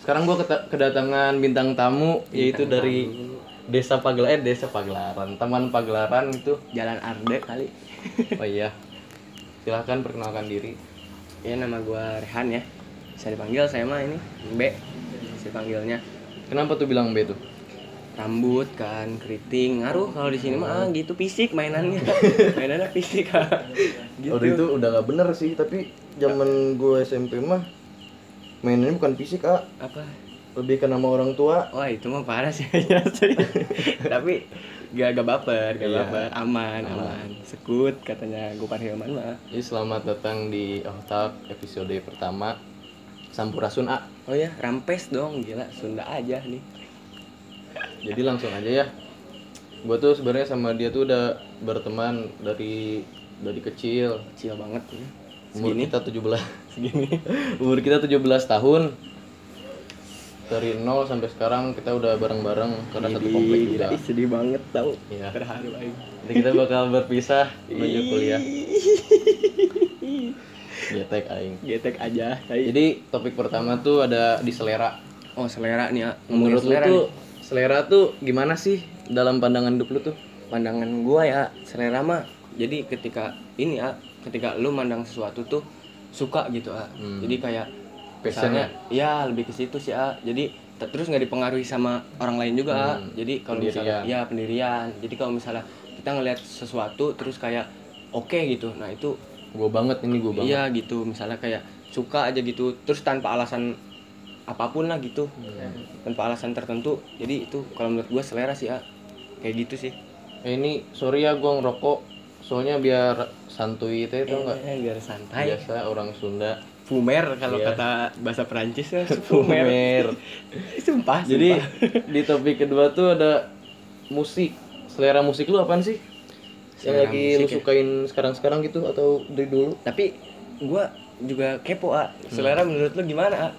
Sekarang gua keta- kedatangan bintang tamu yaitu dari Desa Pagelaran, Desa Pagelaran, Taman Pagelaran itu. Jalan Arde kali. Oh iya. Silahkan perkenalkan diri. Ya nama gua Rehan ya. Bisa dipanggil saya mah ini B. Bisa dipanggilnya Kenapa tuh bilang B tuh? rambut kan keriting ngaruh kalau di sini mah ah, gitu fisik mainannya mainannya fisik ah. gitu Waktu itu udah gak bener sih, tapi zaman gue SMP mah mainannya bukan fisik, ah. apa Lebih ke nama orang tua. wah itu mah parah sih ya sih tapi gak gak baper Iya. gak baper aman aman sekut katanya Gopar Hilman mah Jadi selamat datang di Otak episode pertama Sampurasun A. oh ya rampes dong gila Sunda aja nih Jadi langsung aja ya. Gua tuh sebenarnya sama dia tuh udah berteman dari dari kecil. kecil banget ya. Umur segini kita 17 segini. Umur kita 17 tahun. Dari nol sampai sekarang kita udah bareng-bareng karena satu Jadi, komplek juga. gila, ih, sedih banget tau Iya. terharu aing Jadi kita bakal berpisah menuju kuliah. Getek aing. getek aja tai. Jadi topik pertama tuh ada di selera. oh selera nih ya Menurut lu selera tuh selera tuh gimana sih dalam pandangan hidup lu tuh? pandangan gua ya selera mah jadi ketika ini ya ketika lu mandang sesuatu tuh suka gitu ah Hmm. jadi kayak Passion misalnya ya lebih ke situ sih ah jadi te- terus nggak dipengaruhi sama orang lain juga ah Hmm. jadi kalau Pendirian. misalnya ya pendirian jadi kalau misalnya kita ngelihat sesuatu terus kayak oke gitu nah itu Gue banget ini gue banget. iya gitu misalnya kayak suka aja gitu terus tanpa alasan apapun lah gitu tanpa alasan tertentu jadi itu kalau menurut gua selera sih ah kayak gitu sih Eh, ini sorry ya gue ngerokok. Soalnya biar santuy itu itu enggak Eh, biar santai biasa orang Sunda. Fumer kalau Iya. kata bahasa Perancis ya fumer. Eh, Pumer. sumpah. Jadi sumpah. di topik kedua tuh ada musik. Selera musik lu apaan sih? Yang Selera lagi lu musik ya? sukain sekarang-sekarang gitu atau dari dulu? tapi gua juga kepo, ah. Selera menurut lu gimana, ah?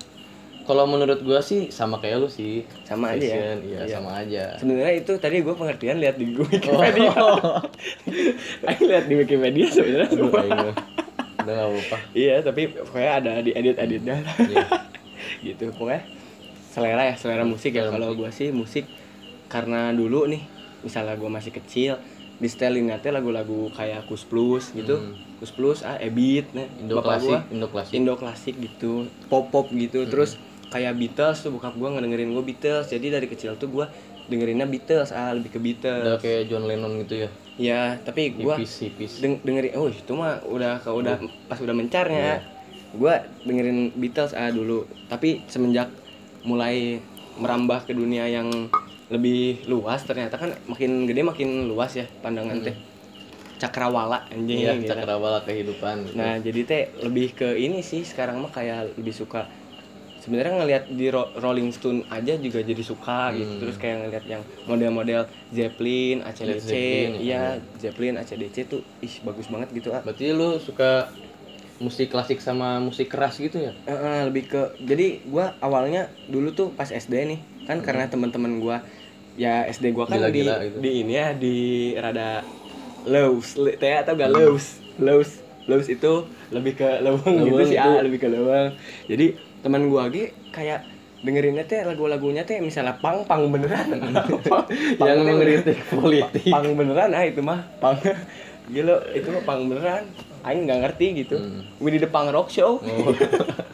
Kalau menurut gua sih sama kayak lu sih. Sama aja ya? Fashion, Iya, Iya. sama aja. Sebenarnya itu tadi gua pengertian lihat di Wikipedia. Oh. Aku lihat di Wikipedia sebenarnya. Aduh, semua. aing mah. Udah gak apa-apa. Iya, tapi pokoknya ada di edit-editnya. lah. Iya. gitu, pokoknya selera ya, selera musik ya. Selera Kalau gua sih musik karena dulu nih, misalnya gua masih kecil, di setelinnya teh lagu-lagu kayak Kus Plus gitu, Kus Plus, ah Ebit, nah, Indo bapak klasik, gua- Indo klasik. Indo klasik gitu, pop pop gitu. Terus kayak Beatles tuh bokap gua ngedengerin gua Beatles. Jadi dari kecil tuh gua dengerinnya Beatles, ah lebih ke Udah Beatles. kayak John Lennon gitu ya. Ya, tapi gua Hipis-hipis. deng- dengerin oh itu mah udah kalau udah pas udah mencarnya. Gua dengerin Beatles ah dulu, tapi semenjak mulai merambah ke dunia yang lebih luas ternyata kan makin gede makin luas ya pandangan teh. Cakrawala anjing Iya, gila. cakrawala kehidupan. gitu. gitu. Nah, jadi teh lebih ke ini sih sekarang mah kayak lebih suka sebenarnya ngelihat di Ro- Rolling Stone aja juga jadi suka gitu. Terus kayak ngelihat yang model-model Led Zeppelin, ACDC, Zeppelin, iya, Zeppelin, ACDC tuh ih bagus banget gitu ah. Berarti lu suka musik klasik sama musik keras gitu ya? Eh, eh, lebih ke jadi gua awalnya dulu tuh pas SD nih kan karena teman-teman gua ya SD gua kan Hmm. Gila-gila di gitu. di ini ya di rada lows le- teh atau gak lows lows lows itu lebih ke Leweng leweng gitu sih itu. ah, lebih ke leweng jadi teman gua ge kayak dengerinnya teh lagu-lagunya teh misalnya pang pang beneran Pang- pang Yang teh mengkritik politik. pang beneran ah itu mah pang gila itu mah pang beneran aing nggak ngerti gitu we need a pang rock show Oh.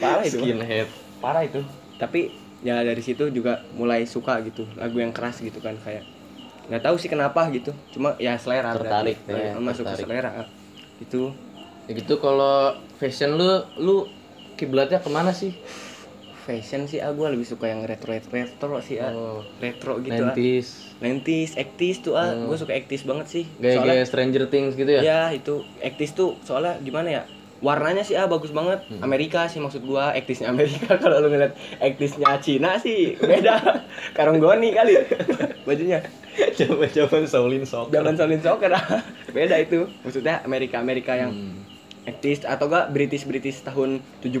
parah itu mah. Skinhead. parah itu tapi ya dari situ juga mulai suka gitu lagu yang keras gitu kan kayak nggak tahu sih kenapa gitu cuma ya selera Tertarik, berarti. ya, Eh, masuk ke tertarik. selera itu Ya gitu kalau fashion lu lu kiblatnya kemana sih? fashion sih ah gua lebih suka yang retro retro sih ah Oh. retro gitu ah 90s. lentis ektis tuh ah gua suka ektis banget sih Gaya-gaya Stranger Things gitu ya? Ya itu Actis tuh soalnya gimana ya? Warnanya sih ah bagus banget. Hmm. Amerika sih maksud gua, Actisnya Amerika kalau lu ngeliat Actisnya Cina sih beda. Karonggoni kali bajunya. Jaman-jaman Shaolin Soccer. Jangan salin soccer ah. Beda itu. Maksudnya Amerika Amerika yang Hmm. Actis atau enggak British British tahun 70 70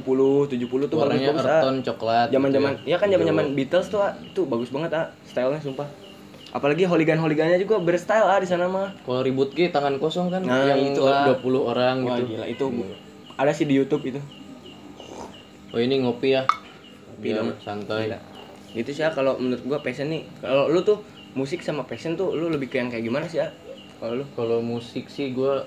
tuh Warnanya bagus earthon banget. coklat. Zaman-zaman gitu ya kan zaman-zaman Beatles tuh ah, itu bagus banget ah stylenya sumpah. Apalagi holigan-holigannya juga berstyle ah di sana mah. Kalau ribut Ki tangan kosong kan Nah, yang itu lah. 20 orang Wah gitu. gila itu ada sih di YouTube itu. Oh ini ngopi ya. sepi Biar dong santai. Gila. gitu sih ah, kalau menurut gua passion nih kalau lu tuh musik sama passion tuh lu lebih ke yang kayak gimana sih ah? kalau lu Kalau musik sih gue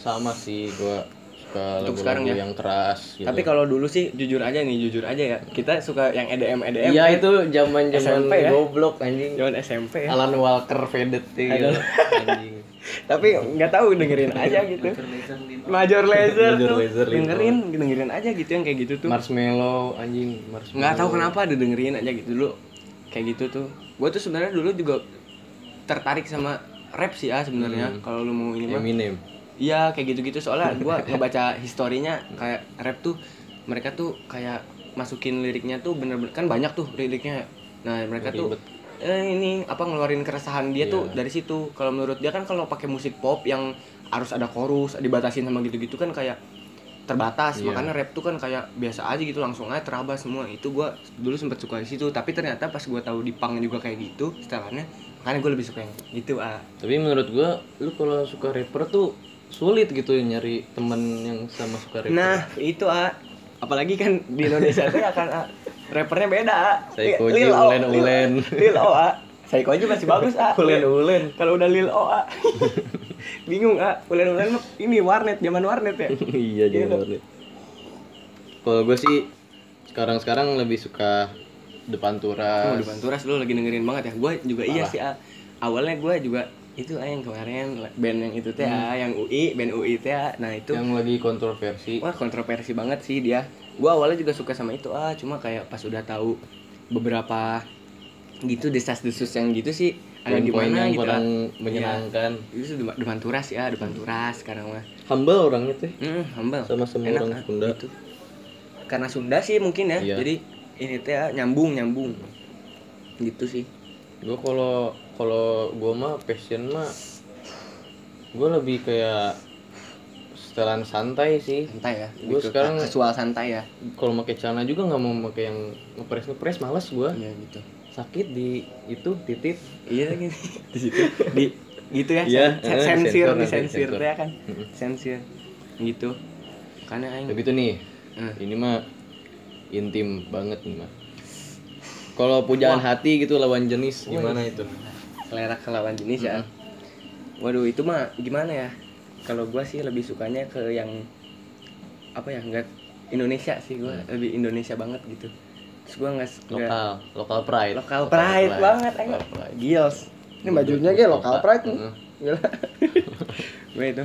sama sih gue suka lagu-lagu Untuk sekarang ya? yang keras gitu. tapi kalau dulu sih jujur aja nih jujur aja ya kita suka yang EDM EDM Iya itu zaman zaman SMP ya? goblok anjing. zaman SMP ya Alan Walker faded I gitu. don't anjing. tapi nggak tahu dengerin aja gitu Major Lazer Major tuh Lazer, Lino. dengerin dengerin aja gitu yang kayak gitu tuh Marshmallow anjing, marshmallow. nggak tahu kenapa ada dengerin aja gitu dulu kayak gitu tuh gue tuh sebenarnya dulu juga tertarik sama rap sih ah Hmm. sebenarnya kalau lu mau ini mah Eminem. iya kayak gitu gitu soalnya gue ngebaca historinya kayak rap tuh mereka tuh kayak masukin liriknya tuh bener-bener kan banyak tuh liriknya nah mereka tuh Ribet. eh, ini apa ngeluarin keresahan dia Iya. tuh dari situ kalau menurut dia kan kalau pakai musik pop yang harus ada chorus dibatasin sama gitu-gitu kan kayak terbatas Iya. makanya rap tuh kan kayak biasa aja gitu langsung aja teraba semua itu gua dulu sempet suka di situ tapi ternyata pas gua tahu di punk juga kayak gitu setelannya makanya gue lebih suka yang gitu ah Tapi menurut gue lu kalau suka rapper tuh sulit gitu nyari temen yang sama suka rapper. Nah, itu A. Apalagi kan di Indonesia tuh akan A. Rappernya beda, A. Saiko J, Lil O, Ulen, Lil- Ulen. Lil O, A. Saiko J masih bagus, A. Ulen, Ulen. Kalau udah Lil O, A. Bingung, A. Ulen-ulen mah ini warnet, zaman warnet ya. iya Gitu. jangan gitu. Kalau gue sih sekarang-sekarang lebih suka depan Oh, turas. depan Turas lu lagi dengerin banget ya. Gua juga iya sih, A. Awalnya gua juga itu A yang kemarin band yang itu teh, A, yang UI, band UI teh. A. Nah, itu Hmm. Yang lagi kontroversi. Wah kontroversi banget sih dia. Gua awalnya juga suka sama itu ah, cuma kayak pas udah tahu beberapa gitu desas-desus yang gitu sih ada di Poin-poin mana yang gitu. kurang ah. menyenangkan. Iya. Itu depan, depan turas ya, depan turas sekarang mah. Humble orangnya tuh. Hmm, humble. Sama-sama Enak, orang ah, Sunda. gitu. Karena Sunda sih mungkin ya. Iya. Jadi ini teh ah, nyambung nyambung. Gitu sih. Gue kalau kalau gue mah passion mah gue lebih kayak setelan santai sih. Santai ya. Gua gitu. sekarang- kasual santai ya. Kalau pakai celana juga nggak mau pakai yang ngepres ngepres males gue. Iya gitu. Sakit di itu titik. Iya gitu. di situ di gitu kan? ya. Iya, sen- eh, sensir sensor di nanti, sensir sensor. ya kan. Sensir. Gitu. Karena aing Ya gitu nih. Hmm. Ini mah intim banget nih mah. Kalau pujaan hati gitu lawan jenis gimana itu? selera kelawan jenis ya. Waduh, itu mah gimana ya? Kalau gua sih lebih sukanya ke yang apa ya? Enggak Indonesia sih gua, lebih Indonesia banget gitu. Terus gua enggak Mm. Lokal, lokal pride. Iya. lokal pride banget aing. Lokal pride. Gils. Ini bajunya kayak lokal pride. nih. Heeh. Gila. gue itu.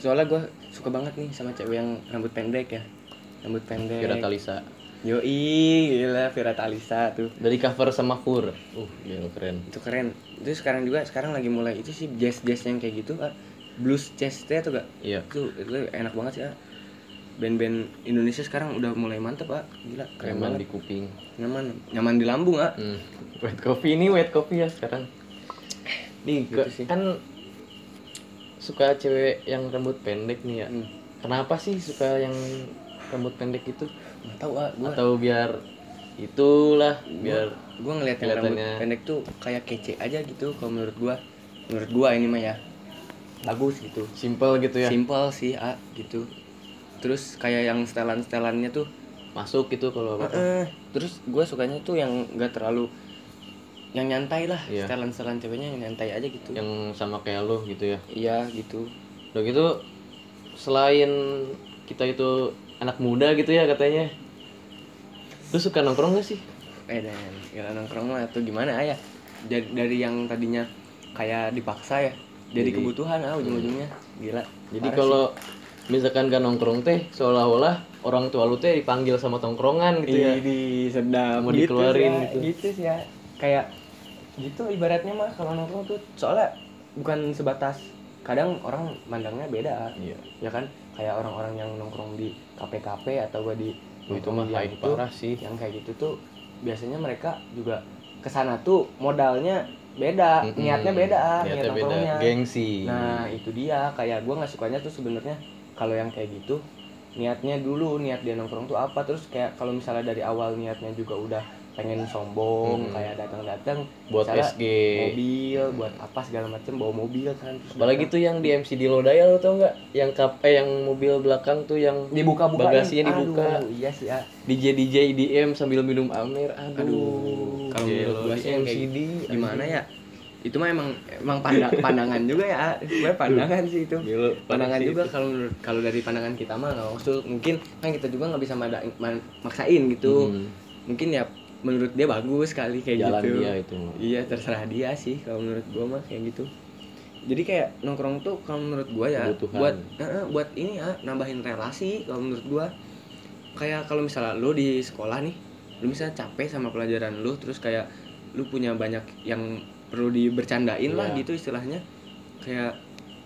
Soalnya gue suka banget nih sama cewek yang rambut pendek ya. Rambut pendek. Kira Talisa. Yoi, gila Vira Talisa tuh. Dari cover sama Kur. Uh, gila keren. Itu keren. Itu sekarang juga sekarang lagi mulai itu sih jazz-jazz yang kayak gitu, ah. blues jazz itu atau gak? Iya. Itu, itu enak banget sih, ah. Band-band Indonesia sekarang udah mulai mantep, ah. Gila, keren Kreman banget. di kuping. Nyaman, nyaman di lambung, ah. Hmm. White coffee ini white coffee ya sekarang. Nih, Gitu gua- sih. kan suka cewek yang rambut pendek nih ya. Hmm. Kenapa sih suka yang rambut pendek itu? Nggak tahu, ah. Gua Atau biar itulah biar gue ngeliat yang rambut Kelihatannya- pendek tuh kayak kece aja gitu kalau menurut gue menurut gue ini mah ya bagus gitu simple gitu ya. simple sih ah gitu terus kayak yang setelan setelannya tuh Masuk gitu kalau apa. eh, terus gue sukanya tuh yang gak terlalu yang nyantai lah Iya. setelan setelan ceweknya yang nyantai aja gitu Yang sama kayak lo gitu ya. iya gitu Udah gitu selain kita itu anak muda gitu ya katanya. Lu suka nongkrong gak sih? eh dan gila nongkrong lah tuh gimana ah, ya dari, dari yang tadinya kayak dipaksa ya Jadi- jadi, Iya. kebutuhan ah ujung-ujungnya gila Jadi Parah sih. kalau misalkan gak nongkrong teh seolah-olah orang tua lu teh dipanggil sama tongkrongan gitu ya. Iya di sedap Mau dikeluarin sih, ya. gitu. gitu sih ya kayak gitu ibaratnya mah kalau nongkrong tuh soalnya bukan sebatas kadang orang mandangnya beda Iya. ya kan kayak orang-orang yang nongkrong di kafe-kafe atau gua di Oh, itu mah nongkrong yang hype parah sih. yang kayak gitu tuh biasanya mereka juga kesana tuh modalnya beda Mm-mm. niatnya beda ah niat Niatnya beda. nongkrongnya Gengsi. Nah itu dia kayak gua nggak sukanya tuh sebenarnya kalau yang kayak gitu niatnya dulu niat dia nongkrong tuh apa terus kayak kalau misalnya dari awal niatnya juga udah pengen sombong Hmm. kayak datang-datang Buat misalnya SG. mobil buat apa segala macem bawa mobil kan terus Apalagi tuh yang di MCD Lodaya lo tau nggak? Yang kap eh, yang mobil belakang tuh yang dibuka-buka bagasinya dibuka. iya sih ya DJ DJ IDM sambil minum Amer. Aduh. Aduh, kalau Gelo, menurut gua di sih yang kayak MCD gimana ya itu mah emang emang pandang pandangan juga ya sebenarnya pandangan sih itu Gelo, pandangan parah sih juga itu. kalau menurut- kalau dari pandangan kita mah nggak maksud mungkin kan kita juga nggak bisa mada- man- maksain gitu Hmm. mungkin ya menurut dia bagus kali kayak Jalan gitu dia itu. iya terserah dia sih kalau menurut gua mah kayak gitu jadi kayak nongkrong tuh kalau menurut gua ya Kebutuhan. buat eh, eh, buat ini ya nambahin relasi kalau menurut gua kayak kalau misalnya lo di sekolah nih lu misalnya capek sama pelajaran lu terus kayak lu punya banyak yang perlu dibercandain lah Iya. gitu istilahnya kayak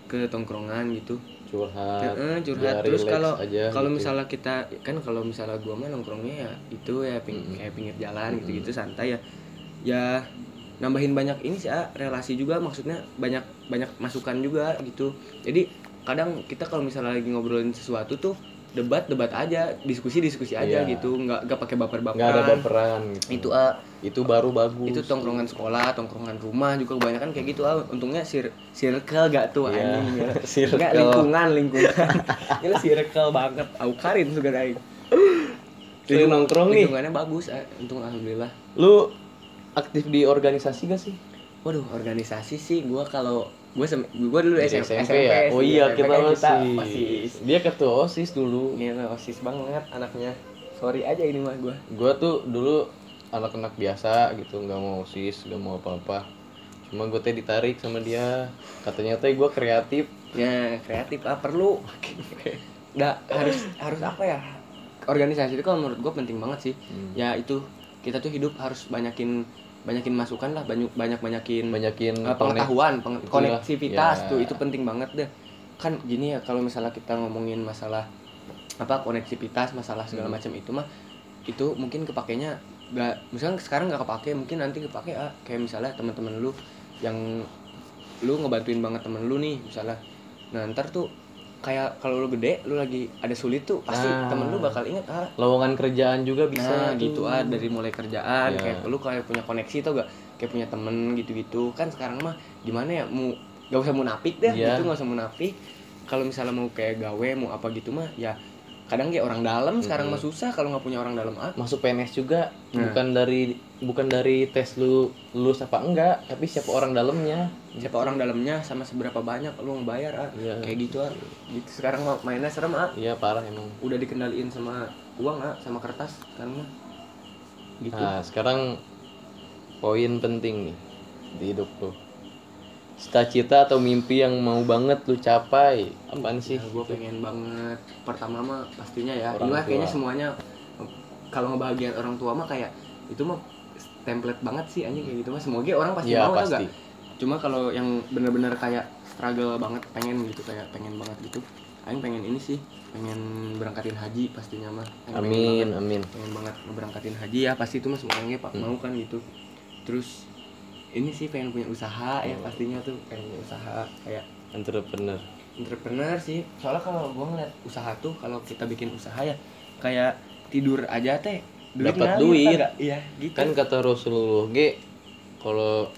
ke tongkrongan gitu Curhat. biar Heeh, curhat terus relax kalau aja kalau gitu. misalnya kita kan kalau misalnya gua mah nongkrongnya ya itu ya ping, Mm-mm. kayak pinggir jalan Mm-mm. gitu-gitu santai ya ya nambahin banyak ini sih ah, relasi juga maksudnya banyak banyak masukan juga gitu jadi kadang kita kalau misalnya lagi ngobrolin sesuatu tuh debat debat aja diskusi diskusi aja Iya. gitu nggak nggak pakai baper nggak ada baperan baperan gitu. itu ah, itu baru bagus. itu tongkrongan sekolah tongkrongan rumah juga kebanyakan kayak gitu ah untungnya sir circle gak tuh Iya. anjing ya. Circle. Nggak, lingkungan lingkungan ini circle banget aku karin juga aing Sering nongkrong nih. lingkungannya bagus ah. untung alhamdulillah Lu aktif di organisasi gak sih? waduh organisasi sih gua kalau gua sem- gua dulu Di SMP, ya? Oh sih, iya, SMP, kita kan OSIS. osis Dia ketua OSIS dulu. gila osis banget anaknya sorry aja ini mah gua Gua tuh dulu anak-anak biasa gitu, nggak mau OSIS, nggak mau apa-apa. Cuma gue teh ditarik sama dia. Katanya teh gua kreatif. Ya, kreatif ah perlu. Nggak, harus harus apa ya? Organisasi itu kalau menurut gue penting banget sih. Ya itu kita tuh hidup harus banyakin banyakin masukan lah, banyak banyak banyakin Banyakin Nah, Eh, pengetahuan, peng- Itulah, konektivitas ya. tuh itu penting banget deh. Kan gini ya kalau misalnya kita ngomongin masalah apa konektivitas, masalah segala macam itu mah itu mungkin kepakainya nggak misalnya sekarang nggak kepake mungkin nanti kepake ah. kayak misalnya teman-teman lu yang lu ngebantuin banget temen lu nih misalnya nah ntar tuh kayak kalau lu gede lu lagi ada sulit tuh pasti Ah. temen lu bakal inget ah lowongan kerjaan juga bisa bisa tuh. gitu ah dari mulai kerjaan Ya. kayak lu kayak punya koneksi tau gak kayak punya temen gitu-gitu kan sekarang mah gimana ya mau gak usah munafik deh Iya. gitu gak usah munafik kalau misalnya mau kayak gawe mau apa gitu mah ya kadang kayak orang dalam sekarang mah susah kalau nggak punya orang dalam ah masuk PNS juga Nah. bukan dari bukan dari tes lu lulus apa enggak tapi siapa orang dalamnya siapa orang dalamnya sama seberapa banyak lu ngebayar ah Iya. kayak gitu ah gitu sekarang mah mainnya serem ah iya parah emang udah dikendaliin sama uang ah sama kertas karena gitu Nah, sekarang poin penting nih di hidup lu. Cita-cita atau mimpi yang mau banget lu capai, apaan sih? gue Iya, pengen banget pertama mah pastinya ya Orang ini mah tua. kayaknya semuanya kalau ngebahagiaan orang tua mah kayak itu mah template banget sih anjing kayak gitu mah semoga orang pasti Iya, mau tau pasti. gak cuma kalau yang bener-bener kayak struggle banget pengen gitu kayak pengen banget gitu Aing pengen ini sih pengen berangkatin haji pastinya mah Aing pengen Amin, banget- amin. pengen banget ngeberangkatin haji ya pasti itu mah semuanya Hmm. pak mau kan gitu terus ini sih pengen punya usaha Hmm. ya pastinya tuh pengen punya usaha kayak Entrepreneur. entrepreneur sih soalnya kalau gue ngeliat usaha tuh kalau kita bikin usaha ya kayak tidur aja teh Dapat ngalir, duit. tau nggak? iya gitu Kan kata Rasulullah G, kalau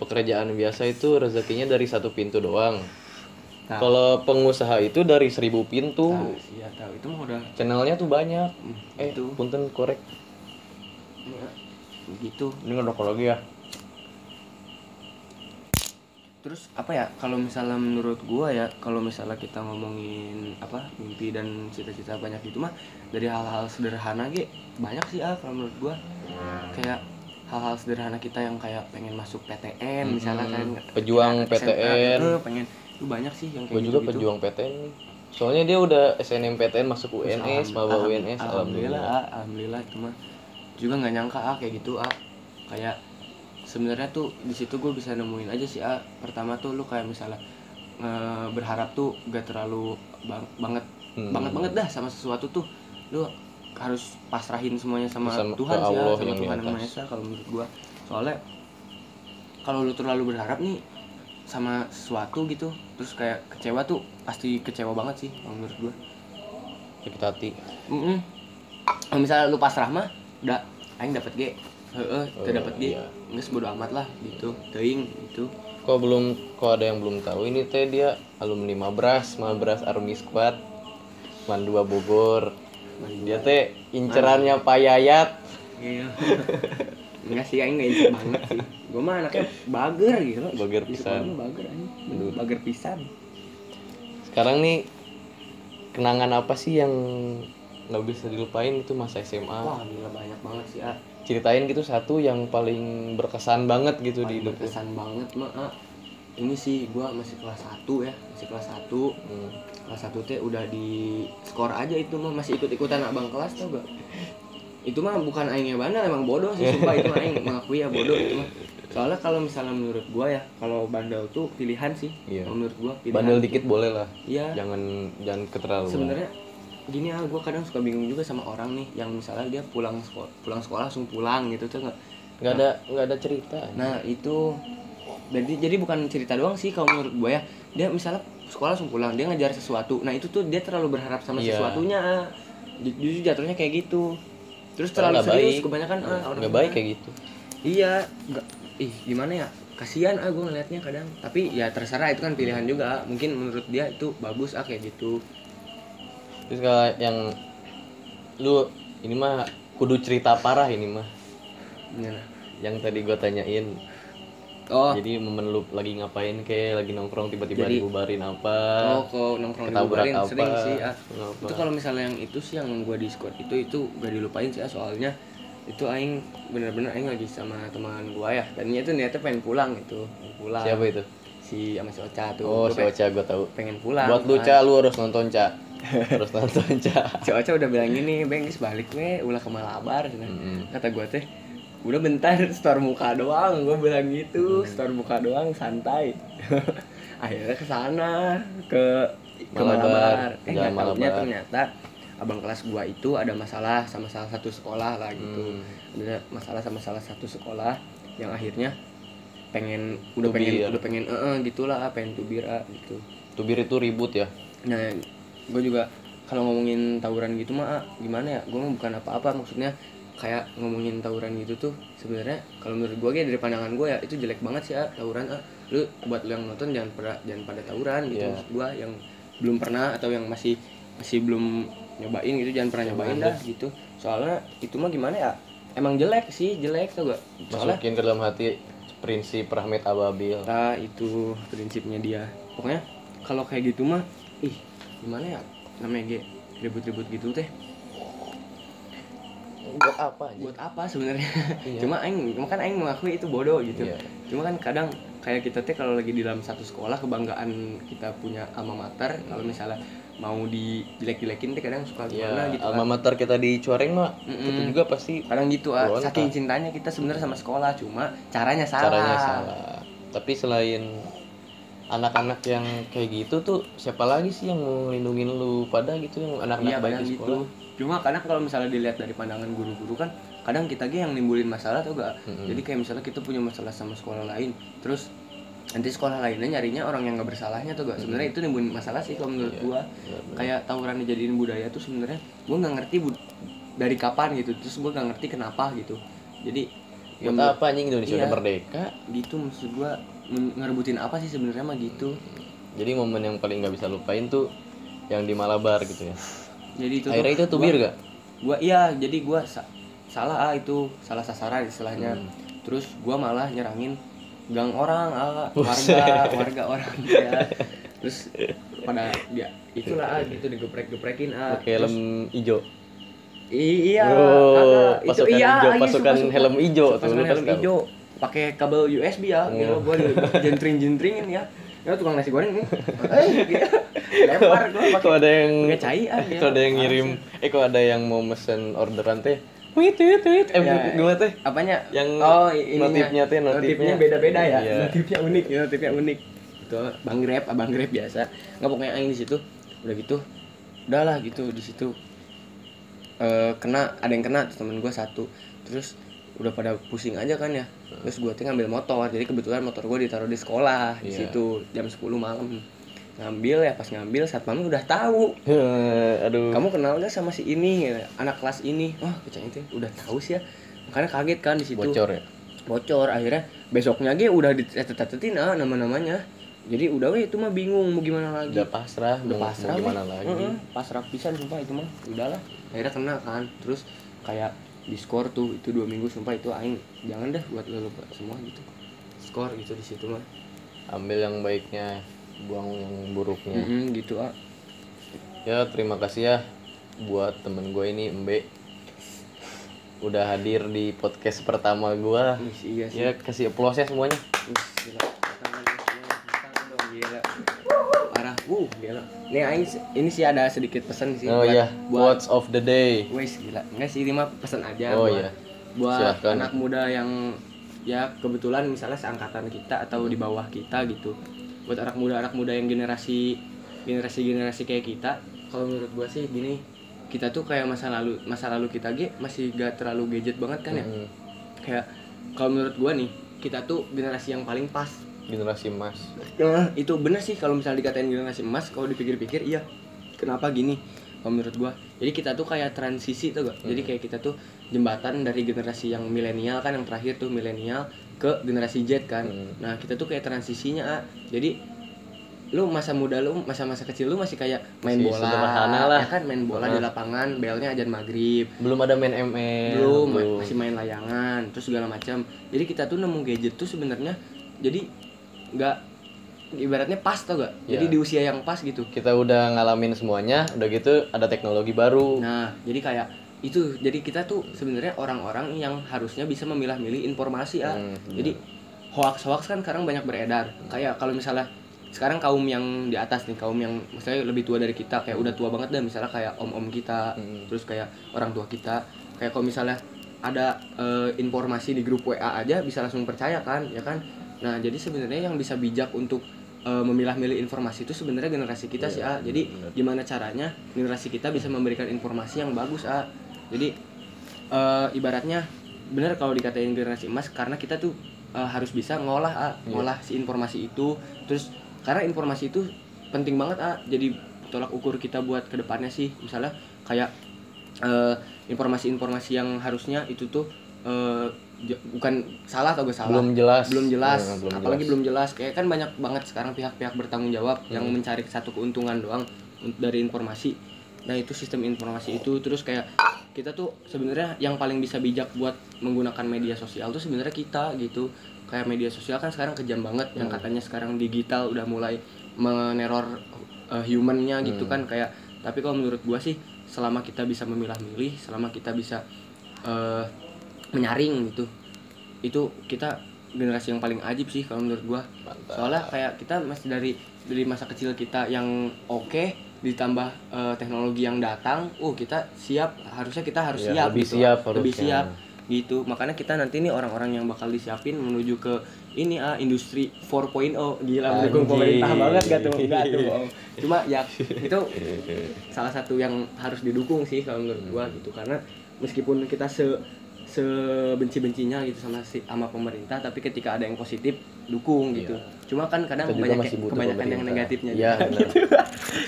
pekerjaan biasa itu rezekinya dari satu pintu doang. Nah. Kalau pengusaha itu dari seribu pintu. Nah, iya tahu itu mah udah Channelnya tuh banyak. Hmm, Eh, iya. itu. punten korek. ya, gitu Ini ngerokok lagi ya. terus apa ya kalau misalnya menurut gua ya kalau misalnya kita ngomongin apa mimpi dan cita-cita banyak itu mah dari hal-hal sederhana ge banyak sih ah kalau menurut gua kayak hal-hal sederhana kita yang kayak pengen masuk PTN misalnya kan Pejuang anak SMA, PTN. eh, pengen lu banyak sih yang kayak Gue juga gitu-gitu. pejuang PTN nih. Soalnya dia udah SNMPTN masuk UNS, Alham- maba alham- UNS, alhamdulillah alhamdulillah. ah, alhamdulillah itu mah juga nggak nyangka ah kayak gitu ah kayak sebenarnya tuh di situ gue bisa nemuin aja sih ah pertama tuh lu kayak misalnya eh, berharap tuh gak terlalu bang- banget Hmm. banget banget dah sama sesuatu tuh lu harus pasrahin semuanya sama, Sama- Tuhan ke sih ah, Allah sama yang di Tuhan yang Maha atas. Esa kalau menurut gue soalnya kalau lu terlalu berharap nih sama sesuatu gitu terus kayak kecewa tuh pasti kecewa banget sih kalau menurut gue Sakit hati. Mm-mm. Kalau misalnya lu pasrah mah, udah aing dapat G. heeh Oh, terdapat di iya. nggak sebodoh amat lah gitu teing gitu Kok belum, kok ada yang belum tahu ini teh dia alumni Mabras, Mabras Army Squad, Mandua Bogor. Dia teh incerannya Pak Yayat. iya nggak sih aing nggak incer banget sih gue mah anaknya bager gitu Bager Di pisan. sekolah mah bager anjing Bener, bager pisan Sekarang nih kenangan apa sih yang nggak bisa dilupain itu masa SMA? wah gila banyak banget sih ah Ceritain gitu satu yang paling berkesan banget gitu di Paling hidup. lu. berkesan banget mah ah. ini sih gua masih kelas 1 ya masih kelas 1 Hmm. kelas 1 teh udah di skor aja itu mah masih ikut-ikutan abang kelas tau gak itu mah bukan aingnya bandel emang bodoh sih sumpah itu mah aing mengakui ya bodoh itu mah soalnya kalau misalnya menurut gua ya kalau bandel tuh pilihan sih Iya. Kalau menurut gua pilihan Bandel dikit boleh lah. iya Jangan jangan keterlaluan. sebenarnya gini ah gua kadang suka bingung juga sama orang nih yang misalnya dia pulang sekolah pulang sekolah langsung pulang gitu tuh nggak nggak ada nggak ada cerita. Nah itu jadi jadi bukan cerita doang sih kalau menurut gue ya dia misalnya sekolah langsung pulang dia ngejar sesuatu nah itu tuh dia terlalu berharap sama Iya. sesuatunya ah. Ju- justru jatuhnya kayak gitu terus Padahal terlalu nggak serius baik. kebanyakan ah, orang nggak baik kayak gitu. iya nggak ih gimana ya kasihan ah gue ngelihatnya kadang tapi ya terserah itu kan pilihan juga ah. mungkin menurut dia itu bagus ah kayak gitu Terus kalau yang lu ini mah kudu cerita parah ini mah Gimana? yang tadi gua tanyain. oh Jadi momen lu lagi ngapain kayak lagi nongkrong tiba-tiba Jadi- dibubarin apa? Oh, kalau nongkrong Ketabrak dibubarin apa, sering sih. ah. kenapa? Itu kalau misalnya yang itu sih yang gua di skor itu itu gak dilupain sih ah, soalnya itu aing bener-bener aing lagi sama teman gua ya. Tadinya itu niatnya pengen pulang gitu, pengen pulang. Siapa itu? Si sama si Ocha tuh. Oh, Gua si Ocha gua tahu. Pengen pulang. Buat lu kan. Ca, lu harus nonton Ca. harus nonton Ca. Si Ocha udah bilang gini, "Beng, geus balik we, ulah ke Malabar." cina. Mm-mm. Kata gua teh, "Udah bentar store muka doang." Gua bilang gitu, store muka doang santai. Akhirnya ke sana, ke ke Malabar, Malabar. Eh, jalan nggak tahunya Malabar. ternyata abang kelas gua itu ada masalah sama salah satu sekolah lah gitu. Hmm. Ada masalah sama salah satu sekolah yang akhirnya pengen udah Tubir. pengen udah pengen eh eh, gitulah pengen tubir ah, gitu. Tubir itu ribut ya. Nah, gue juga kalau ngomongin tawuran gitu mah ah, gimana ya? Gue mah bukan apa-apa maksudnya kayak ngomongin tawuran gitu tuh sebenarnya kalau menurut gue kayak dari pandangan gue ya itu jelek banget sih ah, tawuran ah. Lu buat lu yang nonton jangan pada jangan pada tawuran gitu Iya. maksud gue yang belum pernah atau yang masih masih belum nyobain gitu jangan pernah nyobain dah gitu. Soalnya itu mah gimana ya? Emang jelek sih, jelek tau gak? Soalnya Masukin ke dalam hati prinsip Rahmat Ababil. Nah, itu prinsipnya dia. Pokoknya kalau kayak gitu mah, ih gimana ya namanya ge ribut-ribut gitu teh. Buat apa aja? Buat apa sebenarnya? Iya. Cuma aing, cuma kan aing mengakui itu bodoh gitu. Iya. Cuma kan kadang kayak kita teh kalau lagi di dalam satu sekolah kebanggaan kita punya alma mater kalau Iya. misalnya mau dijelek-jelekin teh kadang suka gimana Ya, gitu. kan. alma mater kita dicuarin mah itu Mm-mm. juga pasti Kadang gitu ah, Berontak. saking cintanya kita sebenarnya sama sekolah, cuma caranya salah. caranya salah. Tapi selain anak-anak yang kayak gitu tuh siapa lagi sih yang mau ngelindungin lu pada gitu yang anak-anak Iya baik kadang di gitu. sekolah? Cuma kadang kalau misalnya dilihat dari pandangan guru-guru kan kadang kita ge yang nimbulin masalah tuh gak. Mm-mm. Jadi kayak misalnya kita punya masalah sama sekolah lain, terus nanti sekolah lainnya nyarinya orang yang nggak bersalahnya tuh gak. Sebenarnya itu nimbulin masalah sih kalau menurut Iya, gua. benar-benar. Kayak tawuran dijadiin budaya tuh sebenarnya gua nggak ngerti bud- dari kapan gitu. Terus gua nggak ngerti kenapa gitu. Jadi Buat menurut- apa anjing Indonesia Iya. udah merdeka? gitu maksud gua men- ngerebutin apa sih sebenarnya mah gitu. Jadi momen yang paling nggak bisa lupain tuh yang di Malabar gitu ya. Jadi itu tuh Akhirnya itu gua- tubir gak? gua iya jadi gua sa- salah ah itu salah sasaran istilahnya Hmm. terus gua malah nyerangin gang orang ah, warga warga orang ya terus pada dia itulah ah, gitu digeprek-geprekin ah Pakai helm ijo. I- iya Oh, kakak. pasukan hijau, iya, pasukan suka-suka. helm hijau tuh, pasukan lu helm pasti tahu. Oh. hijau pakai kabel USB ya gila gua di- jentring-jentringin ya ya tukang nasi goreng nih Eh, gila. lempar gua pakai Kalau ada yang pakai cai ah, kalau ada yang gila. ngirim, eh kalau ada yang mau mesen orderan teh, wit wit wit, eh Ya, gimana teh? apanya Oh, Yang ininya. notifnya tuh, notifnya. beda-beda ya Iya. notifnya unik ya, notifnya unik itu bang grab abang grab biasa nggak pokoknya aing di situ udah gitu udahlah gitu di situ eh, kena ada yang kena temen gue satu terus udah pada pusing aja kan ya terus gue tuh ngambil motor jadi kebetulan motor gue ditaruh di sekolah di Iya. situ jam 10 malam ngambil ya pas ngambil satpamnya udah tahu aduh kamu kenal gak sama si ini Gitu. anak kelas ini wah kecil itu udah tahu sih ya makanya kaget kan di situ bocor ya bocor akhirnya besoknya ge udah dicatet-catetin ah nama-namanya jadi udah weh itu mah bingung mau gimana lagi udah pasrah gitu. udah mau- mau pasrah gimana weh. lagi Mm-mm, pasrah pisan sumpah itu mah udahlah akhirnya kena kan terus kayak di skor tuh itu dua minggu sumpah itu aing jangan dah buat lo lupa semua gitu skor gitu di situ mah ambil yang baiknya buang yang buruknya Mm-mm, gitu ah ya terima kasih ya buat temen gue ini Embe udah hadir di podcast pertama gue Wih, iya sih ya kasih applause ya semuanya Wih, gila Tangan, gila. Tangan dong, gila parah uh gila nih aing ini sih ada sedikit pesan sih oh buat- ya buat words of the day Wes gila. Enggak sih ini mah pesan aja Oh, buat, iya. buat Silahkan. anak muda yang ya kebetulan misalnya seangkatan kita atau di bawah kita gitu. Buat anak muda anak muda yang generasi generasi generasi kayak kita, kalau menurut gua sih gini, kita tuh kayak masa lalu masa lalu kita ge masih gak terlalu gadget banget kan ya. Mm, Kayak kalau menurut gua nih, kita tuh generasi yang paling pas. generasi emas Nah, itu bener sih kalau misalnya dikatain generasi emas kalau dipikir-pikir iya kenapa gini kalau menurut gua jadi kita tuh kayak transisi tuh gak Hmm. jadi kayak kita tuh jembatan dari generasi yang milenial kan yang terakhir tuh milenial ke generasi Z kan Hmm. nah kita tuh kayak transisinya ah. jadi lu masa muda lu masa-masa kecil lu masih kayak main Masih bola sederhana lah. ya kan main bola di Ah. lapangan belnya ajan maghrib belum ada main ML belum ma- masih main layangan terus segala macam jadi kita tuh nemu gadget tuh sebenarnya jadi nggak ibaratnya pas tau gak jadi Iya. di usia yang pas gitu kita udah ngalamin semuanya udah gitu ada teknologi baru nah jadi kayak itu jadi kita tuh sebenarnya orang-orang yang harusnya bisa memilah-milih informasi ah Hmm, benar. jadi hoax-hoax kan sekarang banyak beredar kayak kalau misalnya sekarang kaum yang di atas nih kaum yang misalnya lebih tua dari kita kayak udah tua banget dah misalnya kayak om-om kita Hmm. terus kayak orang tua kita kayak kalau misalnya ada eh, informasi di grup WA aja bisa langsung percaya kan ya kan nah jadi sebenarnya yang bisa bijak untuk eh, memilah-milih informasi itu sebenarnya generasi kita sih ah jadi gimana caranya generasi kita bisa memberikan informasi yang bagus ah jadi eh, ibaratnya bener kalau dikatain generasi emas karena kita tuh eh, harus bisa ngolah ah ngolah si informasi itu terus karena informasi itu penting banget ah jadi tolak ukur kita buat kedepannya sih misalnya kayak eh, informasi-informasi yang harusnya itu tuh eh, j- bukan salah atau gak salah belum jelas Nah, belum jelas Nah, belum apalagi jelas. belum jelas kayak kan banyak banget sekarang pihak-pihak bertanggung jawab yang Hmm. mencari satu keuntungan doang un- dari informasi nah itu sistem informasi itu terus kayak kita tuh sebenarnya yang paling bisa bijak buat menggunakan media sosial tuh sebenarnya kita gitu kayak media sosial kan sekarang kejam banget Hmm. yang katanya sekarang digital udah mulai meneror eh, humannya gitu Hmm. kan kayak tapi kalau menurut gua sih selama kita bisa memilah-milih selama kita bisa eh, menyaring gitu itu kita generasi yang paling ajib sih kalau menurut gua Mantap. soalnya kayak kita masih dari dari masa kecil kita yang oke ditambah eh, teknologi yang datang uh kita siap harusnya kita harus Iya, siap lebih gitu. siap lebih harusnya. siap gitu makanya kita nanti nih orang-orang yang bakal disiapin menuju ke ini ah industri 4.0 gila mendukung Anjing. pemerintah banget gak tuh Nggak tuh bohong. cuma ya itu salah satu yang harus didukung sih kalau menurut gua Hmm. gitu karena meskipun kita se sebenci-bencinya gitu sama si sama pemerintah tapi ketika ada yang positif dukung gitu cuma kan kadang Iya. Kita juga banyak masih butuh kebanyakan yang pemerintah. negatifnya Iya, juga benar. gitu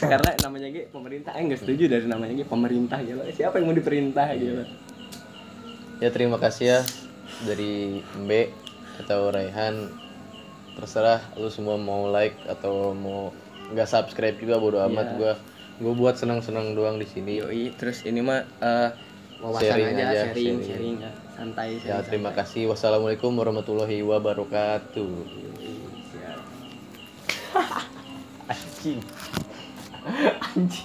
karena namanya ge pemerintah eh nggak setuju dari namanya ge pemerintah gitu siapa yang mau diperintah Iya. gitu ya terima kasih ya dari Mbe atau Raihan terserah lu semua mau like atau mau nggak subscribe juga bodo amat Iya. gua gua buat senang-senang doang di sini yoi terus ini mah eh, wawasan Sharing aja, aja, sharing sharing. sharing ya santai ya terima kasih wassalamualaikum warahmatullahi wabarakatuh kasih anjing anjing